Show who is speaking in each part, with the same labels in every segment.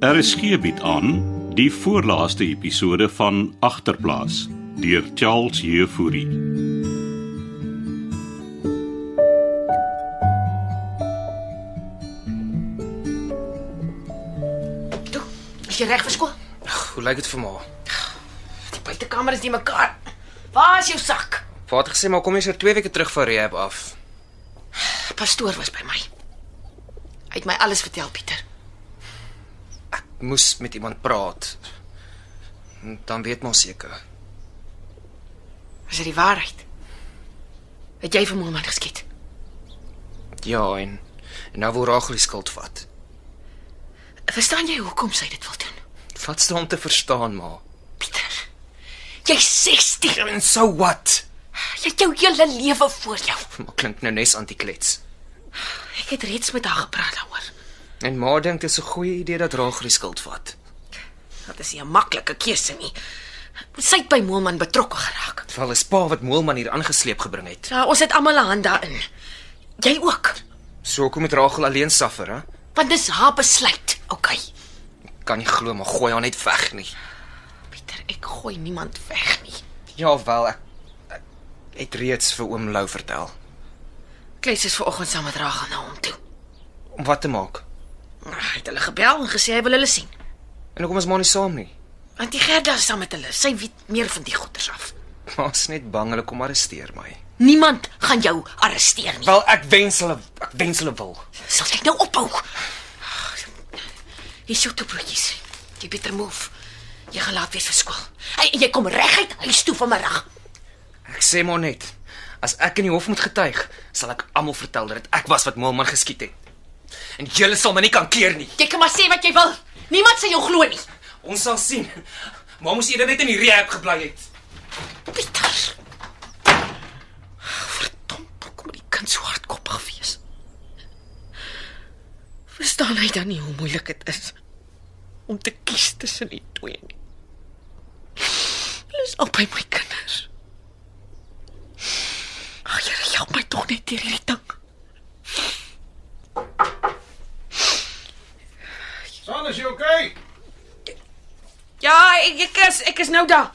Speaker 1: RSG bied Er aan die voorlaaste episode van Agterplaas deur Charles Jefouri.
Speaker 2: Toe, is jy reg vir skool?
Speaker 3: Hoe lyk dit vir ma?
Speaker 2: Die buitekamer is nie mekaar. Waar is jou sak?
Speaker 3: Pa het gesê maar kom eers oor 2 weke terug van rehab af.
Speaker 2: Pastoor was by my. Hy het my alles vertel, Pieter.
Speaker 3: Moes met iemand praat. En Dan weet maar seker.
Speaker 2: Is dit die waarheid? Het jy vir Moelman geskiet?
Speaker 3: Ja, en, en nou wil Rachel die skuld vat.
Speaker 2: Verstaan jy hoekom sy dit wil doen?
Speaker 3: Vat's dan om te verstaan, ma. Ja,
Speaker 2: Pieter. Jy's 16.
Speaker 3: En so what?
Speaker 2: Jy het jou hele lewe voor jou.
Speaker 3: Maar klink nou nes antiklets.
Speaker 2: Ek het reeds met haar gepraat daaroor.
Speaker 3: En ma dink dit is 'n goeie idee dat Rachel die skuld vat.
Speaker 2: Dit is nie 'n maklike keuse nie. Sy het by Moelman betrokke geraak.
Speaker 3: Terwyl is pa wat Moelman hier aangesleep gebring het.
Speaker 2: Ja, ons het almal 'n hand daarin. Jy ook.
Speaker 3: So hoekom moet Rachel alleen suffer, hè?
Speaker 2: Want dis haar besluit. Okay.
Speaker 3: Kan nie glo maar gooi haar net weg nie.
Speaker 2: Pieter, ek gooi niemand weg nie.
Speaker 3: Ja wel, ek, ek het reeds vir oom Lou vertel
Speaker 2: Kleis is vanoggend saam met Ragel na hom toe.
Speaker 3: om wat te maak.
Speaker 2: Hy het hulle gebel en gesê hy wil hulle sien.
Speaker 3: En hoekom is maar nie saam nie?
Speaker 2: Want die Gerda is saam met hulle. Sy weet meer van die goeters af.
Speaker 3: Ma's net bang hulle kom arresteer my.
Speaker 2: Niemand gaan jou arresteer nie.
Speaker 3: Wel, ek wens hulle ek wens hulle wil.
Speaker 2: Sal jy nou ophou? Hier sou toe broodjies. Jy beter move. Jy gaan laat wees vir skool. Hey, en jy kom reguit huis toe vanmiddag.
Speaker 3: Ek sê maar net, as ek in die hof moet getuig, sal ek almal vertel dat dit ek was wat Moelman geskiet het. En julle sal my nie kan keer nie.
Speaker 2: Jy kan maar sê wat jy wil. Niemand sal jou glo nie.
Speaker 3: Ons sal sien. Maar moes eerder net in die rehab gebly het.
Speaker 2: Pieter. Verdomp, kom die kind so hardkoppig wees. Verstaan hy dan nie hoe moeilik dit is om te kies tussen die twee nie? Hulle is albei my kinders. Ag, Here, help my tog net deur hierdie ding.
Speaker 4: Son, is jy okay?
Speaker 2: Ja, ek ek is ek is nou daar.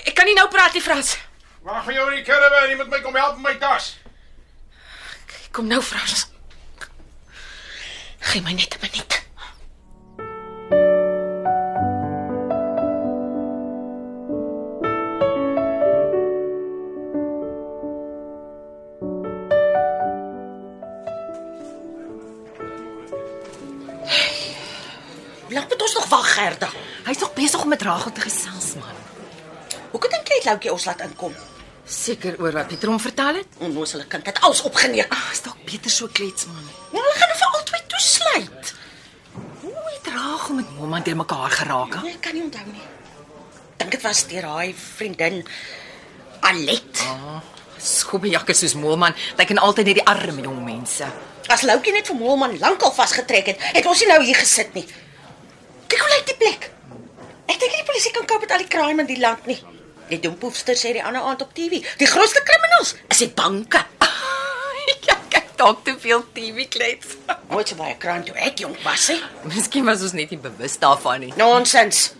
Speaker 2: Ek kan nie nou praat nie, Frans.
Speaker 4: Waar gaan jy in die karre? Jy moet my kom help met my tas.
Speaker 2: Kom nou, Frans. Gee my net 'n minuut.
Speaker 5: Laat met ons nog wag, Gerda.
Speaker 6: Hy's nog besig om met Ragel te gesels man.
Speaker 5: Hoekom dink jy dit Loukie ons laat inkom?
Speaker 6: Seker oor wat Pieter hom vertel het. Ah,
Speaker 5: Onnoosele kind het alles opgeneek.
Speaker 6: Is dalk beter so klets man.
Speaker 5: Ja, hulle gaan nou vir albei toesluit.
Speaker 6: Hoe het Ragel met Momma deur mekaar geraak? hè?
Speaker 5: Nee, ek kan nie onthou nie. Dink dit was deur haar vriendin Alet.
Speaker 6: Skobbejakke soos Momma, hy kan altyd net die arme jong mense.
Speaker 5: As Loukie net vir Moelman lankal vasgetrek het, het ons nie nou hier gesit nie. Kyk hoe lyk die plek. Ek dink nie die polisie kan koop met al die crime in die land nie. Die dompoefster sê die ander aand op TV, die grootste kriminals is die banke. Ah,
Speaker 6: Ek Ah, kyk dalk te veel TV klets.
Speaker 5: Nooit so baie crime toe ek jonk was nie.
Speaker 6: Miskien was ons net nie bewus daarvan nie.
Speaker 5: Nonsens.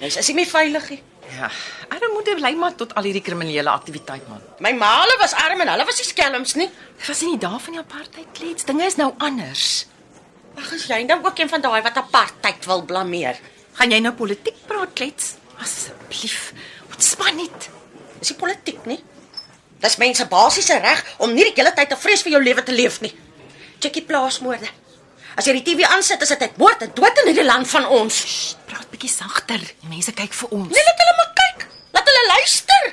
Speaker 5: Nou is dit nie veilig nie.
Speaker 6: Ja, armoede lei maar tot al hierdie kriminele aktiwiteit man.
Speaker 5: My ma hulle was arm en hulle was nie skelms nie.
Speaker 6: Dit was nie daar van die apartheid klets. Dinge is nou anders.
Speaker 5: Ag, is jy dan ook een van daai wat apartheid wil blameer?
Speaker 6: Gaan jy nou politiek praat klets? Asseblief, ontspan net.
Speaker 5: Dis nie politiek nie. Dis mense basiese reg om nie die hele tyd te vrees vir jou lewe te leef nie. Check die plaasmoorde. As jy die TV aansit, is dit net moord en dood in hierdie land van ons.
Speaker 6: Praat bietjie sagter. Die mense kyk vir ons.
Speaker 5: Nee, laat hulle maar kyk. Laat hulle luister.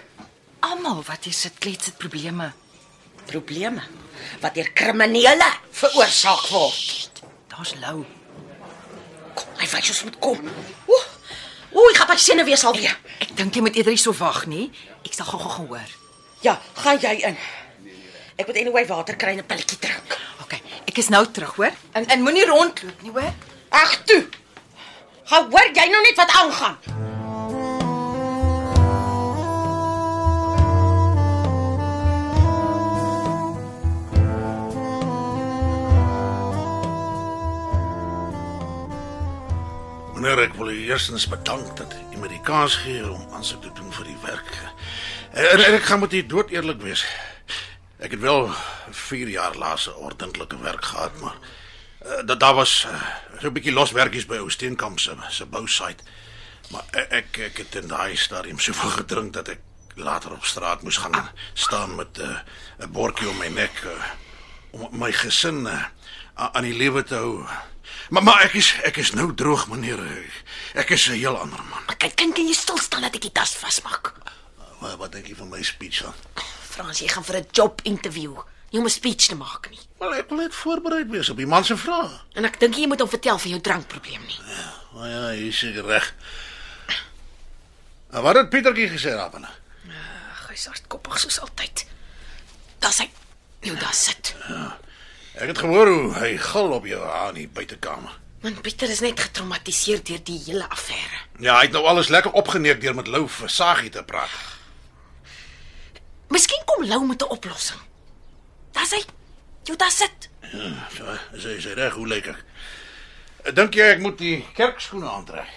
Speaker 6: Almal wat hier sit klets het probleme.
Speaker 5: Probleme wat deur kriminele veroorsaak word.
Speaker 6: Daar's Lou.
Speaker 5: Kom, hy wys ons moet kom. Ooh. Ooh, ek gaan by sinne wees alweer.
Speaker 6: Ek dink jy moet eerder hierso wag, nê? Ek sal gou-gou gaan hoor.
Speaker 5: Ja, gaan jy in. Ek moet anyway water kry en 'n pilletjie drink.
Speaker 6: OK, ek is nou terug, hoor? En en moenie rondloop nie, hoor?
Speaker 5: Ag toe. Gaan hoor jy nou net wat aangaan.
Speaker 7: meer ek wil u eerstens bedank dat u my die kans gee om aansoek te doen vir die werk. En, en ek gaan met u dood eerlik wees. Ek het wel 4 jaar laas 'n ordentlike werk gehad, maar eh, dat daar was eh, so 'n bietjie loswerkies by ou Steenkamp se se bousite. Maar e- ek ek het in daai stadium soveel gedrink dat ek later op straat moes gaan staan met 'n uh, bordjie om my nek eh, om my gesin eh, a- aan die lewe te hou. Maar maar ek is ek is nou droog meneer. Ek is 'n heel ander man.
Speaker 2: Kyk, kind, kan jy stil staan dat ek die tas vasmaak?
Speaker 7: Wat, wat dink jy van my speech dan?
Speaker 2: Frans, jy gaan vir 'n job interview. Jy moet 'n speech te maak nie.
Speaker 7: Wel ek wil net voorbereid wees op die man se vrae.
Speaker 2: En ek dink jy moet hom vertel van jou drankprobleem nie.
Speaker 7: Maar ja, jy is seker reg. En wat het Pietertjie gesê daarvan?
Speaker 2: Ag, hy's hardkoppig soos altyd. Daar's hy. Nou daar sit.
Speaker 7: Ek het gehoor hoe hy gil op jou aan die buitekamer.
Speaker 2: Want Pieter is net getraumatiseer deur die hele affære.
Speaker 7: Ja, hy het nou alles lekker opgeneek deur met Lou vir Sagie te praat.
Speaker 2: Miskien kom Lou met 'n oplossing. Daar's hy. Jou daar sit.
Speaker 7: Ja, so, sy sê reg hoe lyk ek? Dink jy ek moet die kerkskoene aantrek?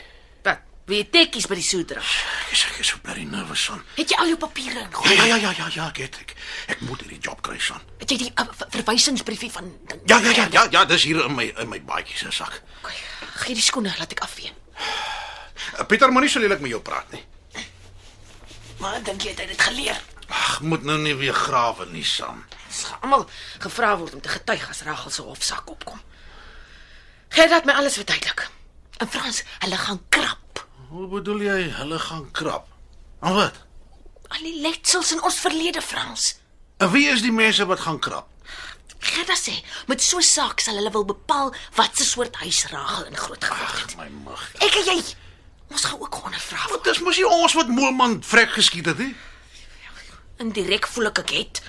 Speaker 2: Wat? Wie het tekkies by die soedra?
Speaker 7: Ek is ek is so bly nervus son.
Speaker 2: Het jy al jou papiere ingooi?
Speaker 7: Ja ja ja ja ja, ja ek, het- ek ek moet hierdie job kry son.
Speaker 2: Het jy die uh, ver- verwysingsbriefie van ding?
Speaker 7: Ja ja ja ja ja, dis hier in my in my baadjie se sak.
Speaker 2: Okay, Gee die skoene, laat ek afvee.
Speaker 7: Eh, Pieter moenie so lelik met jou praat nie.
Speaker 2: Maar dink jy het hy dit geleer?
Speaker 7: Ag, moet nou nie weer grawe nie son.
Speaker 2: Ons gaan almal gevra word om te getuig as Ragel se hofsaak opkom. Gert het my alles verduidelik. In Frans, hulle gaan krap.
Speaker 7: Hoe bedoel jy hulle gaan krap? En wat?
Speaker 2: Al die letsels in ons verlede, Frans.
Speaker 7: En wie is die mense wat gaan krap?
Speaker 2: Gerda sê, met so 'n saak sal hulle wil bepaal wat se soort huis Ragel in groot geword het.
Speaker 7: My mag.
Speaker 2: Ek en jy, ons gaan ook ondervra.
Speaker 7: Wat
Speaker 2: word.
Speaker 7: dis mos nie ons wat Moelman vrek geskiet het nie.
Speaker 2: Indirek voel ek ek het.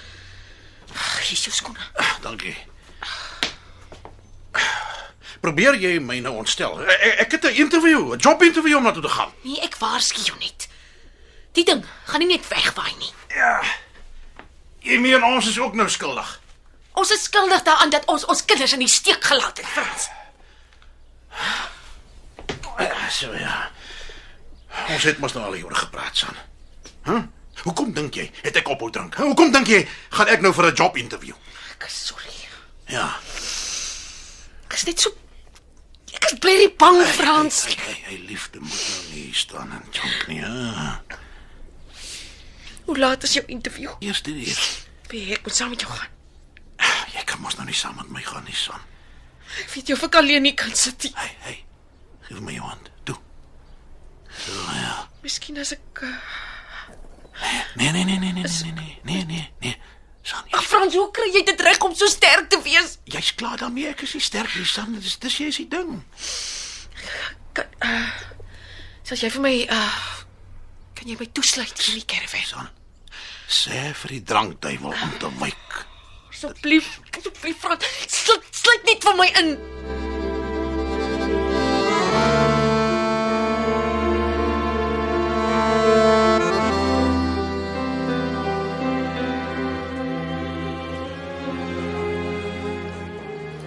Speaker 2: Ag, Hier is jou skoene.
Speaker 7: Ah, Dankie. Probeer jy my nou ontstel? Ek, ek het 'n interview, 'n jobinterview om na toe te gaan.
Speaker 2: Nee, ek waarsku jou net. Die ding gaan nie net wegwaai nie.
Speaker 7: Ja. Jy meen ons is ook nou skuldig.
Speaker 2: Ons is skuldig daaraan dat ons ons kinders in die steek gelaat het, Frans.
Speaker 7: Ja, so ja. Ons het mos nou al hieroor gepraat, San. Hæ? Hoekom dink jy het ek ophou drink? Hè? Hoekom dink jy gaan ek nou vir 'n jobinterview?
Speaker 2: Ek is sorry.
Speaker 7: Ja.
Speaker 2: Ek is net so Ek is bly bang, Frans.
Speaker 7: Hy, hy, hy liefde moet nou nie hier staan en chunk nie. Hè?
Speaker 2: Hoe laat is jou interview?
Speaker 7: Eers dit eers.
Speaker 2: Wie ek moet saam met jou gaan.
Speaker 7: Jy kan mos nou nie saam met my gaan nie, San.
Speaker 2: Ek weet jy of ek alleen nie kan sit nie.
Speaker 7: Hey, hey. Geef my jou hand. Toe. Zo, ja.
Speaker 2: Miskien as ek uh...
Speaker 7: Nee, nee, nee, nee, nee, nee, nee, nee, nee, nee. San, jy,
Speaker 2: Ag Frans, hoe kry jy dit reg om so sterk te wees?
Speaker 7: jy's klaar daarmee. Ek is nie sterk nie, San. Dis dis jy's die ding.
Speaker 2: Kan uh, sal jy vir my uh, kan jy my toesluit in die caravan?
Speaker 7: San. Sê vir die drankduiwel om te wyk.
Speaker 2: Asseblief, asseblief Frans, sluit sluit net vir my in.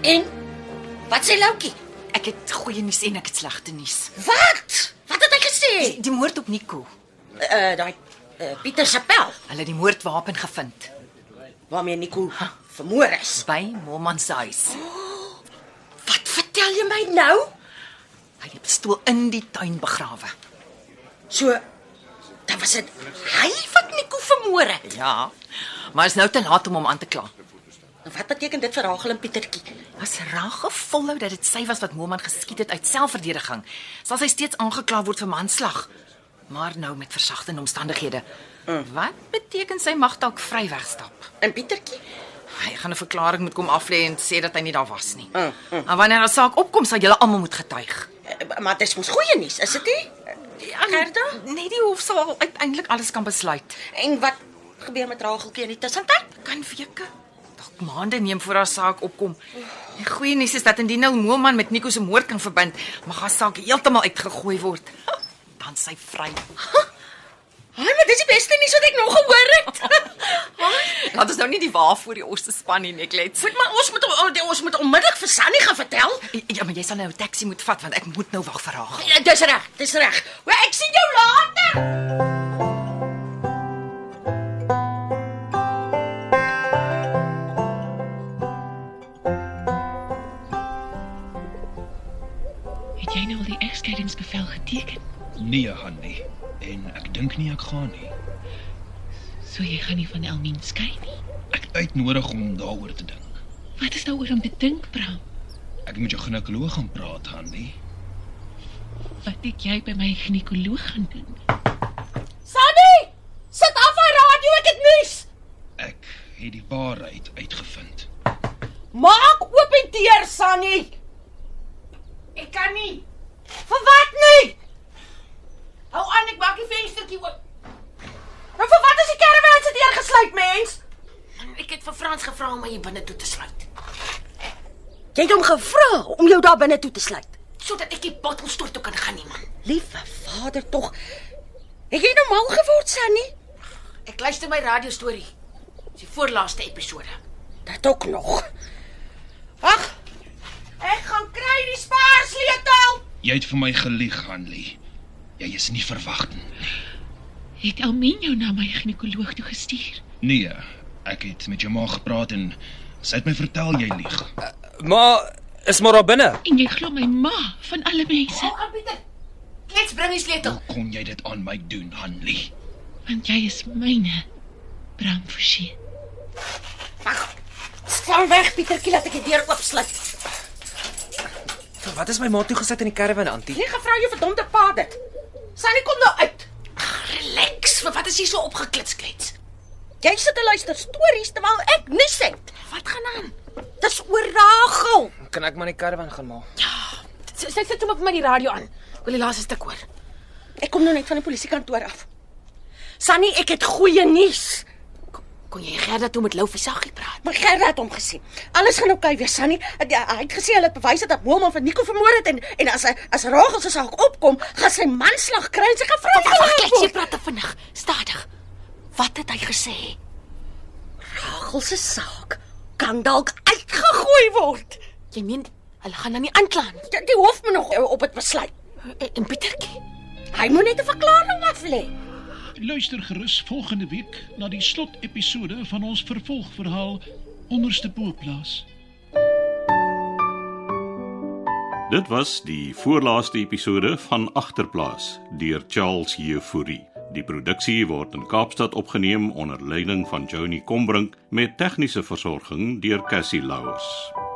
Speaker 5: En wat sê Loukie?
Speaker 6: Ek het goeie nuus en ek het slegte nuus.
Speaker 5: Wat? Wat het hy gesê?
Speaker 6: Die, die moord op Nico.
Speaker 5: Uh Eh, daai uh, Pieter se pel
Speaker 6: Hulle het die moordwapen gevind
Speaker 5: waarmee Nico vermoor is.
Speaker 6: by Momman se huis.
Speaker 5: Wat vertel jy my nou?
Speaker 6: Hy het die pistool in die tuin begrawe.
Speaker 5: So dan was dit hy wat Nico vermoor het.
Speaker 6: Ja. Maar is nou te laat om hom aan te kla.
Speaker 5: Nou wat beteken dit vir Rachel en Pietertjie?
Speaker 6: As Rag gevolhou nou dat dit sy was wat Momman geskiet het uit selfverdediging, sal sy steeds aangekla word vir manslag, maar nou met versagtende omstandighede. Wat beteken sy mag dalk vry wegstap?
Speaker 5: En Pietertjie?
Speaker 6: Hy gaan 'n verklaring moet kom aflê en sê dat hy nie daar was nie. En wanneer haar saak opkom, sal julle almal moet getuig.
Speaker 5: Uh, maar dis mos goeie nuus, is dit nie?
Speaker 6: Ja,
Speaker 5: Gerda?
Speaker 6: Net Nee, die hof sal uiteindelik alles kan besluit.
Speaker 5: En wat gebeur met Racheltjie in die tussentyd?
Speaker 6: Kan weke, dalk maande neem voor haar saak opkom. Die goeie nuus is dat indien nou Moelman met Nico se moord kan verbind, mag haar saak heeltemal uitgegooi word. Dan sy vry.
Speaker 5: Haai, maar dis die beste nuus wat ek nog gehoor het.
Speaker 6: Laat ons nou nie die wa voor die osse span nie, Neklet.
Speaker 5: Moet maar ons moet om- oh, ons moet onmiddellik vir Sunny gaan vertel.
Speaker 6: Ja, maar jy sal nou 'n taxi moet vat want ek moet nou wag vir haar.
Speaker 5: Ja, Dis reg, dis reg. Wel, Ek sien jou later.
Speaker 8: Het jy nou al die egskeidingsbevel geteken?
Speaker 9: Nee, gaan nie. En ek dink nie ek gaan nie.
Speaker 8: So jy gaan nie van Elmien skei nie.
Speaker 9: Ek uitnodig om daaroor te dink.
Speaker 8: Wat is nou oor om te dink, Bram?
Speaker 9: Ek moet jou ginekoloog gaan praat, Hanni.
Speaker 8: Wat het jy by my ginekoloog gaan doen?
Speaker 5: Sunny, sit af van radio, ek het nuus.
Speaker 9: Ek het die waarheid uitgevind.
Speaker 5: Maak oop die deur, Sunny.
Speaker 2: Ek kan nie.
Speaker 5: Vir wat nie?
Speaker 2: Hou aan, ek maak die venstertjie oop.
Speaker 5: Nou vir wat is die karavaan se deur gesluit, mens?
Speaker 2: Ek het vir Frans gevra om my hier binne toe te sluit
Speaker 5: Jy het hom gevra om jou daar binne toe te sluit.
Speaker 2: sodat ek die bottelstort toe kan gaan nie man.
Speaker 5: Liewe Vader tog. Het jy nou mal geword, Sunny?
Speaker 2: Ek luister my radio storie. Dis die voorlaaste episode.
Speaker 5: Dat ook nog. Wag. Ek gaan kry die spaarsleutel.
Speaker 9: Jy het vir my gelieg, Hanni. Jy is nie verwagtend nie.
Speaker 8: Het Elmien jou na my ginekoloog toe gestuur?
Speaker 9: Nee, ek het met jou ma gepraat en sy het my vertel jy lieg.
Speaker 3: Maar is maar daar binne.
Speaker 8: En jy glo my ma van alle mense,
Speaker 2: Kom aan Pieter. Klets bring die sleutel.
Speaker 9: Hoe kon jy dit aan my doen, Hanni?
Speaker 8: want jy is myne. Bram Forsie.
Speaker 5: Staan weg, Pietertjie, laat ek die deur oopsluit.
Speaker 3: Vir wat is my ma toegesit in die karavaan, Antie?
Speaker 5: Nie gevra jou verdomde pa dit. Sunny kom nou uit.
Speaker 2: Relax. Vir wat is jy so opgeklits klets?
Speaker 5: Jy sit en luister stories terwyl ek nuus het.
Speaker 2: Wat gaan aan?
Speaker 5: Dis oor Rachel.
Speaker 3: Kan ek maar in die karavaan gaan maar?
Speaker 2: Sy sy sit sommer vir my die radio aan. Ek wil die laaste stuk hoor.
Speaker 5: Ek kom nou net van die polisiekantoor af. Sunny, ek het goeie nuus.
Speaker 2: Kon jy Gerda toe met Lou versaggie praat?
Speaker 5: Maar Gerda het hom gesien. Alles gaan oukei okay wees, Sunny. Hy hy het gesê hulle het bewys dat Moma van Nico vermoor het en en as hy as Rachel se saak opkom, gaan sy manslag kry en sy gaan
Speaker 2: Wag,
Speaker 5: vrygelaat
Speaker 2: klets, jy
Speaker 5: word.
Speaker 2: praat te vinnig. Stadig. Wat het hy gesê?
Speaker 5: Rachel se saak kan dalk uitgegooi word.
Speaker 2: Jy meen hulle gaan dan nie aankla nie.
Speaker 5: Die, die hof moet nog eh, op dit besluit.
Speaker 2: En, en Pietertjie?
Speaker 5: Hy moet net 'n verklaring af lê.
Speaker 10: Luister gerus volgende week na die slotepisode van ons vervolgverhaal Onderste Boplaas.
Speaker 1: Dit was die voorlaaste episode van Agterplaas deur Charles Jefouri. Die produksie word in Kaapstad opgeneem onder leiding van Johnny Combrink met tegniese versorging deur Cassie Lauers.